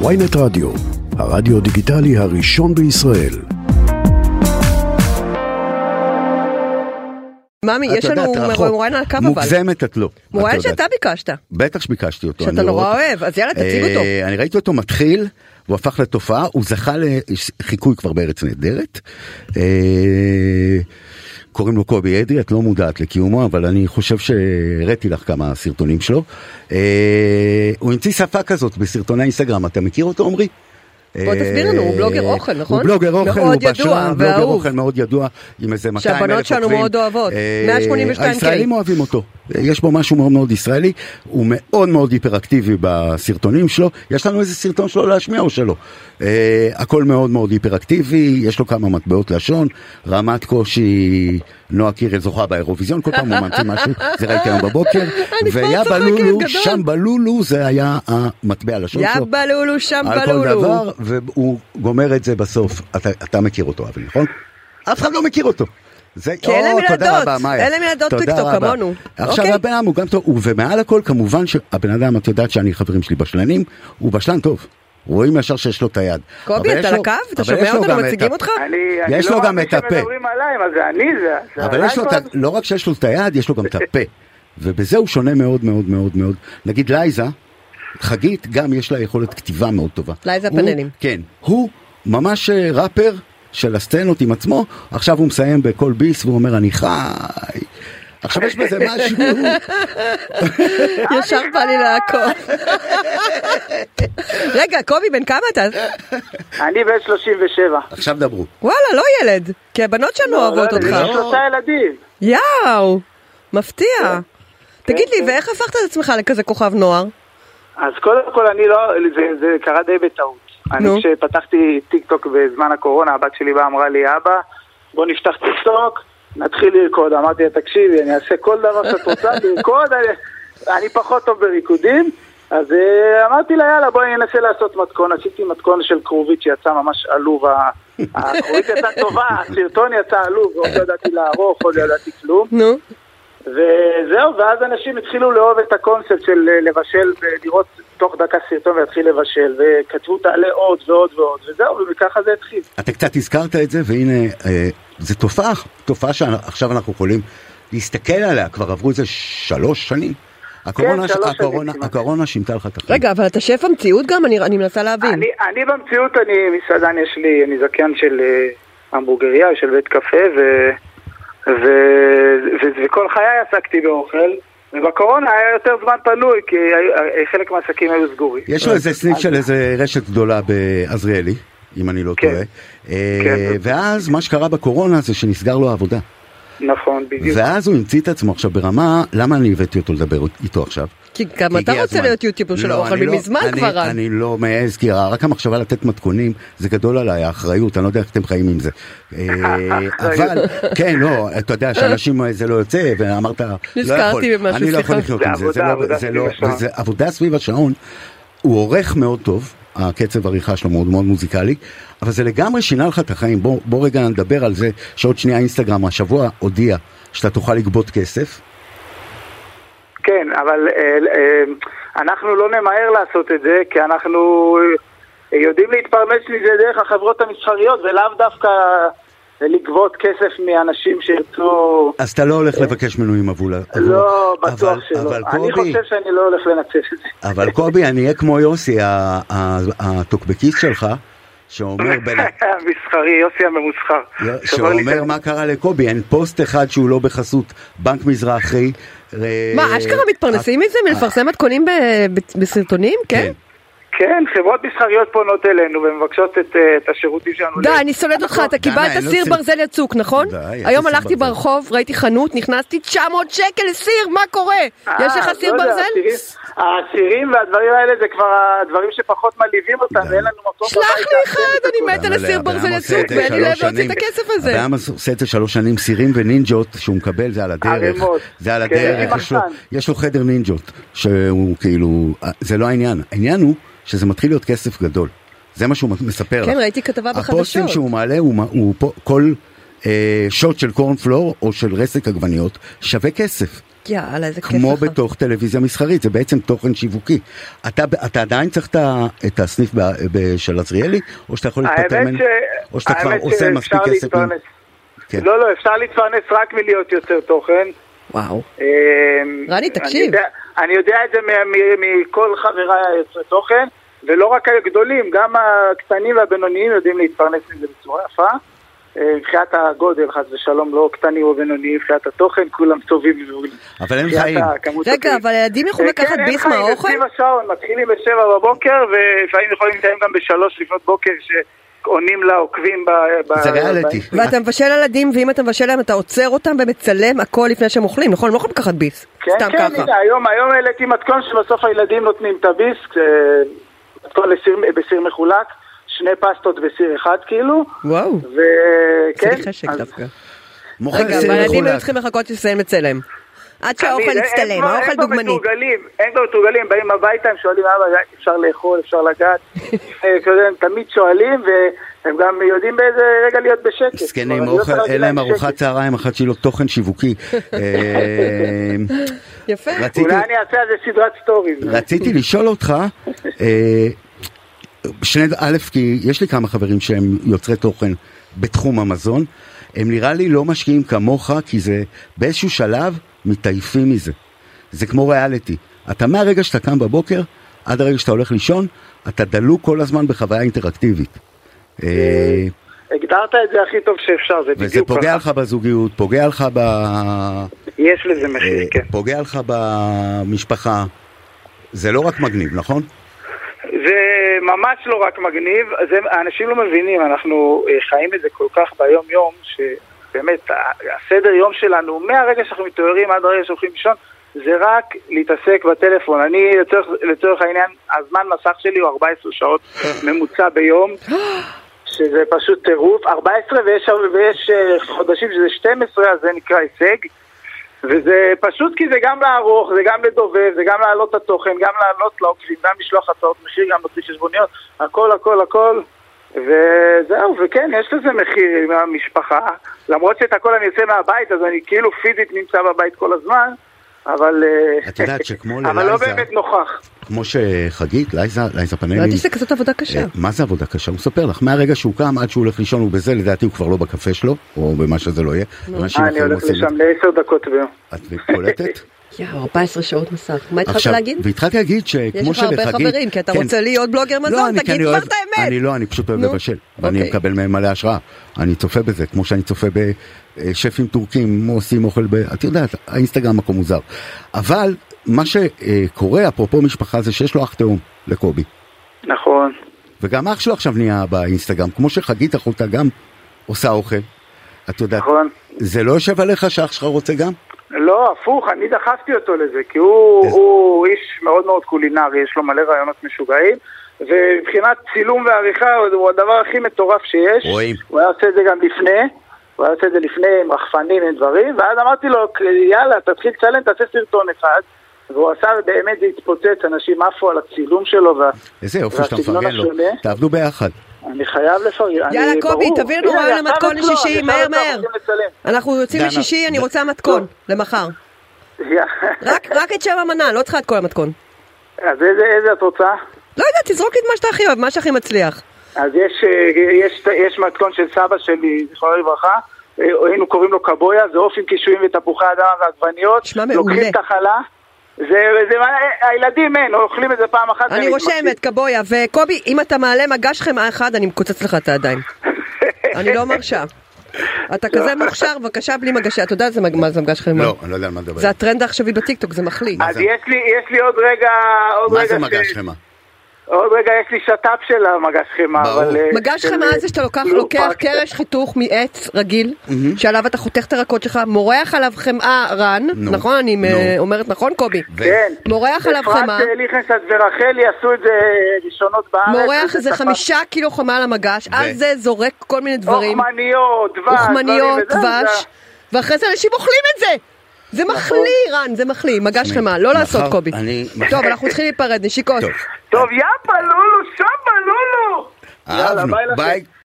ויינט רדיו, הרדיו דיגיטלי הראשון בישראל. ממי, את יש לנו יודעת, רחוק. מרואיין על הקו אבל. מוגזמת את לא. את מרואיין יודעת. שאתה ביקשת. בטח שביקשתי אותו. שאתה אני לא נורא רואה- אוהב, אז יאללה, תציג אה, אותו. אני ראיתי אותו מתחיל, הוא הפך לתופעה, הוא זכה לחיקוי כבר בארץ נהדרת. אה, קוראים לו קובי אדרי, את לא מודעת לקיומו, אבל אני חושב שהראיתי לך כמה סרטונים שלו. אה, הוא המציא שפה כזאת בסרטוני אינסטגרם, אתה מכיר אותו עמרי? אה, בוא תסביר לנו, הוא בלוגר אוכל, נכון? הוא בלוגר אוכל, מאוד ידוע הוא בשלן, בלוגר ואהוב. אוכל מאוד ידוע, עם איזה 200 אלף עוקבים. שהבנות שלנו מאוד אוהבות. אה, 182K. הישראלים אוהבים אותו. יש בו משהו מאוד מאוד ישראלי, הוא מאוד מאוד היפראקטיבי בסרטונים שלו. יש לנו איזה סרטון שלו להשמיע או שלא. אה, הכל מאוד מאוד היפראקטיבי, יש לו כמה מטבעות לשון, רמת קושי, נועה קירל זוכה באירוויזיון, כל פעם הוא ממציא משהו, זה ראיתי היום בבוקר. אני כבר ויה צוחקת, בלולו, גדול. שם בלולו זה היה המטבע לשון שלו. יא בלולו, שם על כל בלולו. דבר, והוא גומר את זה בסוף. אתה, אתה מכיר אותו, אבל נכון? אף אחד לא מכיר אותו. זה, כי אין להם או, תודה ילדות. רבה, מאיה. אין להם ילדות תודה טיקטוק רבה. כמונו. עכשיו אוקיי. הבן אדם הוא גם טוב, הוא- ומעל הכל כמובן שהבן אדם, את יודעת שאני חברים שלי בשלנים, הוא בשלן טוב. רואים ישר שיש לו את היד. קובי, אבל אתה יש על לו- הקו? אתה אבל יש שומע לו אותנו? גם את מציגים ה- אותך? אני, אני יש לא לו גם מאמין את הפה. שמדברים עליי, מה זה אני זה. זה אבל עליי יש לו, את כל ה- הזמן. לא רק שיש לו את היד, יש לו גם את הפה. ובזה הוא שונה מאוד מאוד מאוד מאוד. נגיד לייזה, חגית, גם יש לה יכולת כתיבה מאוד טובה. לייזה הוא- פנלים. כן. הוא ממש אה, ראפר של הסצנות עם עצמו, עכשיו הוא מסיים בכל ביס והוא אומר אני חי. עכשיו יש בזה משהו, ישר בא לי לעקוב. רגע, קובי, בן כמה אתה? אני בן 37. עכשיו דברו. וואלה, לא ילד. כי הבנות שלנו אוהבות לא, אותך. יש לי שלושה ילדים. יאו, לא. מפתיע. תגיד לי, כן. ואיך הפכת את עצמך לכזה כוכב נוער? אז קודם כל, אני לא, זה, זה קרה די בטעות. אני נו. כשפתחתי טיק טוק בזמן הקורונה, הבת שלי באה אמרה לי, אבא, בוא נפתח טיק טוק, נתחיל לרקוד. אמרתי לה, תקשיבי, אני אעשה כל דבר שאת רוצה לרקוד, אני, אני פחות טוב בריקודים. אז אה, אמרתי לה, יאללה, בואי ננסה לעשות מתכון. עשיתי מתכון של כרובית שיצא ממש עלוב. ה- הכרובית יצאה טובה, הסרטון יצא עלוב, עוד לא ידעתי לערוך, עוד לא ידעתי כלום. נו, וזהו, ואז אנשים התחילו לאהוב את הקונספט של אה, לבשל, ב- לראות תוך דקה סרטון ולהתחיל לבשל, וכתבו תעלה עוד ועוד ועוד, וזהו, וככה זה התחיל. אתה קצת הזכרת את זה, והנה, אה, זו תופעה, תופעה שעכשיו אנחנו יכולים להסתכל עליה, כבר עברו איזה שלוש שנים. הקורונה, כן, שלוש שנים הקורונה, כמעט. הקורונה שינתה לך את החיים. רגע, אבל אתה שף המציאות גם? אני אני מנסה להבין. אני, אני במציאות, אני מסעדן, יש לי, אני זכיין של אה, המבורגריה, של בית קפה, ו, ו, ו, וכל חיי עסקתי באוכל, ובקורונה היה יותר זמן פנוי, כי היו- אה, חלק מהעסקים היו סגורים. יש לו איזה אה, סניף של איזה רשת גדולה בעזריאלי, אם אני לא כן. טועה. אה, כן. ואז מה שקרה בקורונה זה שנסגר לו העבודה. נכון, בדיוק. ואז הוא המציא את עצמו עכשיו ברמה, למה אני הבאתי אותו לדבר איתו עכשיו? כי גם כי אתה רוצה הגיע הזמן. להיות יוטיובר של לא, האוכל, אני לא- ומזמן אני- כבר אז. אני לא מעז, כי רק המחשבה לתת מתכונים, זה גדול עליי, האחריות, אני לא יודע איך אתם חיים עם זה. אה, לא אבל, כן, לא, אתה יודע שאנשים אה, זה לא יוצא, ואמרת, לא נזכרתי יכול, במשהו, אני לא יכול סליחה. לחיות זה עם זה, זה עבודה, לא- עבודה זה סביב לא, השעון. זה עבודה סביב השעון, הוא עורך מאוד טוב. הקצב עריכה שלו מאוד מאוד מוזיקלי, אבל זה לגמרי שינה לך את החיים. בוא, בוא רגע נדבר על זה שעוד שנייה אינסטגרם השבוע הודיע שאתה תוכל לגבות כסף. כן, אבל אה, אה, אנחנו לא נמהר לעשות את זה, כי אנחנו אה, יודעים להתפרנס מזה דרך החברות המסחריות, ולאו דווקא לגבות כסף מאנשים שירצו... אז אתה לא הולך לבקש מנויים עבור... עבור- לא, בטוח אבל- שלא. אבל קובי, אני חושב שאני לא הולך לנצל את זה. אבל קובי, אני אהיה כמו יוסי, ה- ה- הטוקבקיסט שלך, שאומר בין... ה- המסחרי, יוסי הממוסחר. לא, שובר לי שאומר את- מה קרה לקובי, אין פוסט אחד שהוא לא בחסות בנק מזרחי. אה, מה, אשכרה מתפרנסים מזה? מלפרסם מתכונים ב- ב- בסרטונים? כן? כן, חברות מסחריות פונות אלינו ומבקשות את אה, את השירותים שלנו. די, אני שונאת אותך, אתה די, קיבלת אני לא סיר צריך- ברזל יצוק, נכון? די, איזה היום סיר הלכתי ברזל? ברחוב, ראיתי חנות, נכנסתי 900 שקל לסיר, מה קורה? אה, יש לך לא סיר יודע, ברזל? הסירים- הסירים והדברים האלה זה כבר הדברים שפחות מלהיבים אותם, ואין לנו מקום שלח בבית לי לעשות אחד, את אני זה. מתה לסיר הבן אדם ברזל עושה את יצוק, זה ואין לי לב שלוש להוציא לא את שנים. הכסף הזה. הבן אדם עושה את זה שלוש שנים, סירים ונינג'ות שהוא מקבל, זה על הדרך. ערימות. זה על כן, הדרך, עם יש לו- מחסן. יש לו חדר נינג'ות, שהוא כאילו, זה לא העניין. העניין הוא שזה מתחיל להיות כסף גדול. זה מה שהוא מספר לך. כן, ראיתי כתבה הפוסטים בחדשות. שהוא מעלה, הוא, מ- הוא פה, כל אה, שוט של קורנפלור או של רסק עגבניות שווה כסף. יאללה, איזה כיף לך. כמו בתוך טלוויזיה מסחרית, זה בעצם תוכן שיווקי. אתה, אתה עדיין צריך את ה- את הסניף ב, ב, של עזריאלי, או שאתה יכול להתפטר האמת ממנו? ש... או שאתה כבר האמת עושה שאפשר מספיק כסף? להתפרנס. כן. לא, לא, אפשר להתפרנס רק מלהיות יוצר תוכן. וואו. אמ, רני, אני תקשיב. יודע, אני יודע את זה מ- מ- מכל חבריי היוצרי תוכן, ולא רק הגדולים, גם הקטנים והבינוניים יודעים להתפרנס מזה בצורה יפה. אה, מבחינת הגודל, חס ושלום, לא קטנים או בינוניים, מבחינת התוכן, כולם טובים. אבל אין מבחינת חיים. הכמות רגע, הטבעית. אבל הילדים יכולים אה, לקחת כן, אין ביס חיים, הם מהאוכל? סביב השעון, מתחילים בשבע בבוקר, ולפעמים יכולים להתקיים גם בשלוש לפנות בוקר, שעונים לעוקבים ב... ב- זה ריאליטי. ב- ואתה מבשל לילדים, ואם אתה מבשל להם, אתה עוצר אותם ומצלם הכל לפני שהם אוכלים, נכון? הם לא יכולים לקחת ביס. כן, סתם כן, ככה. הנה, היום היום העליתי מתכון שבסוף הילדים נותנים את הביס, אה, מתכון לסיר- בסיר מחולק, שני פסטות בסיר אחד כאילו, וואו. וכן. עשיתי חשק דווקא. מוכר רגע, סיר אבל לא הילדים היו מחולק. צריכים לחכות שתסיים לצלם. עד שהאוכל יצטלם, האוכל דוגמני. הם כבר מתורגלים, באים הביתה, הם שואלים, אבא, אפשר לאכול, אפשר לגעת. אה, כזה, הם תמיד שואלים, והם גם יודעים באיזה רגע להיות בשקט. זקנים, כלומר, אני לא אוכל, יכול להגיד אין להם ארוחת שקט. צהריים אחת שהיא לא תוכן שיווקי. אה, יפה. לא רציתי- אולי אני אעשה על זה סדרת סטוריז. רציתי לשאול אותך, אה, שני, א', כי יש לי כמה חברים שהם יוצרי תוכן בתחום המזון, הם נראה לי לא משקיעים כמוך, כי זה באיזשהו שלב מתעייפים מזה. זה כמו ריאליטי. אתה מהרגע שאתה קם בבוקר, עד הרגע שאתה הולך לישון, אתה דלוק כל הזמן בחוויה אינטראקטיבית. אה, הגדרת את זה הכי טוב שאפשר, זה וזה בדיוק פוגע ככה. לך בזוגיות, פוגע לך ב... יש לזה מחיר, אה, כן. פוגע לך במשפחה. זה לא רק מגניב, נכון? זה ממש לא רק מגניב, זה, האנשים לא מבינים, אנחנו אה, חיים את זה כל כך ביום-יום, שבאמת, ה- הסדר יום שלנו, מהרגע שאנחנו מתעוררים עד הרגע שהולכים לישון, זה רק להתעסק בטלפון. אני, לצורך, לצורך העניין, הזמן מסך שלי הוא 14 שעות ממוצע ביום, שזה פשוט טירוף. 14 ויש, ויש אה, חודשים שזה 12, אז זה נקרא הישג. וזה פשוט כי זה גם לערוך, זה גם לדובב, זה גם להעלות את התוכן, גם לעלות לעוקבים, גם לשלוח הצעות מחיר, גם להוציא חשבוניות, הכל הכל הכל. וזהו, וכן, יש לזה מחיר עם המשפחה. למרות שאת הכל אני יוצא מהבית, אז אני כאילו פיזית נמצא בבית כל הזמן, אבל... אה, את יודעת שכמו אבל לא ללייזה- באמת נוכח. כמו שחגית, לייזה, לייזה פנלים, ראיתי שזה כזאת עבודה קשה. אה, מה זה עבודה קשה? הוא מספר לך, מהרגע שהוא קם עד שהוא הולך לישון הוא בזה, לדעתי הוא כבר לא בקפה שלו, או במה שזה לא יהיה. אנשים אה, אני אחרים הולך עושים את לשם לעשר דקות ביום. זה. את קולטת? יואו, 14 שעות מסך. מה התחלת כן. עכשיו, להגיד? והתחלתי להגיד שכמו יש שלחגית... לך הרבה חברים, כי אתה כן. רוצה להיות בלוגר לא, מזון, אני- כי תגיד אני כבר אוהב- את האמת. אני לא, אני פשוט אוהב נו, לבשל, ואני אוקיי. מקבל מהם מלא השראה. אני צופה בזה, כמו שאני צופה בשפים טורקים עושים אוכל ב... את יודעת, האינסטגרם מקום מוזר. אבל מה שקורה, אפרופו משפחה, זה שיש לו אח תאום לקובי. נכון. וגם אח שלו עכשיו נהיה באינסטגרם, כמו שחגית החולטה גם עושה אוכל. את יודעת, נכון. זה לא יושב עליך שאח שלך רוצה גם? לא, הפוך, אני דחפתי אותו לזה, כי הוא, איזה- הוא איש מאוד מאוד קולינרי, יש לו מלא רעיונות משוגעים, ומבחינת צילום ועריכה הוא- הוא הדבר הכי מטורף שיש. רואים. הוא היה עושה את זה גם לפני, הוא היה עושה את זה לפני עם רחפנים, עם דברים, ואז אמרתי לו, יאללה, תתחיל לצלם, תעשה סרטון אחד, והוא עשה, ובאמת זה התפוצץ, אנשים עפו על הצילום שלו, איזה יופי שאתה והסגנון מפרגן לו. השונה? תעבדו ביחד. ואני חייב לפרגן, יאללה, אני- קובי, ברור. תביא לנו הנה, רעיון יצא למתכון אצלו, לשישי, יצא מהר, אצלו, מהר. רוצים לצלם. אנחנו יוצאים דנה, לשישי, אני ד- לא. רוצה מתכון למחר. רק- רק את שם המנה, לא צריכה את כל המתכון. אז איזה- איזה את רוצה? לא יודעת, תזרוק לי את מה שאתה הכי אוהב, מה שהכי מצליח. אז יש, אה, יש, יש מתכון של סבא שלי, זיכרונו לברכה, אה, היינו קוראים לו קבויה, זה עוף עם קישואים ותפוחי אדמה ועגבניות. נשמע מעולה. לוקחים את החלה. זה, זה, מה- הילדים אין, אוכלים את זה פעם אחת. אני והם רושמת, מתמסים. קבויה. וקובי, אם אתה מעלה מגש חמאה אחד, אני מקוצץ לך את הידיים. אני לא מרשה. אתה כזה מוכשר, בבקשה בלי מגשי. אתה יודע איזה מג- מה זה מגש חמאה? לא, אני לא יודע על מה לדבר. זה הטרנד העכשווי בטיקטוק, זה מחליט. מה אז זה? יש לי, יש לי עוד רגע, עוד מה רגע, זה ש- מגש חמאה? עוד רגע יש לי שת"פ של המגש חמאה, ברור. אבל... אה, מגש של- חמאה זה שאתה לוקח, לא, לוקח פרק- קרש חיתוך מעץ רגיל, שעליו אתה חותך את הרקות שלך, מורח עליו חמאה רן, נו. נכון? אני נו. אה, אומרת נכון, קובי? ו- כן. מורח עליו חמאה, אפרת אה, ליכנסט ורחלי עשו את זה ראשונות בארץ. מורח וזה איזה תפס. חמישה קילו חמאה על המגש, ו- על זה זורק כל מיני דברים, אוכמניות, דבש. אוכמניות, דברים, וזה- נכון. דבש, ואחרי זה אנשים אוכלים את זה! זה מחליא, רן, זה מחליא, מגש חמאה, לא מחר לעשות קובי. אני- טוב, אנחנו צריכים להיפרד, נשיקות. טוב, טוב, יאפה, לולו, שמה, לולו! אהבנו, ביי לכם. ביי.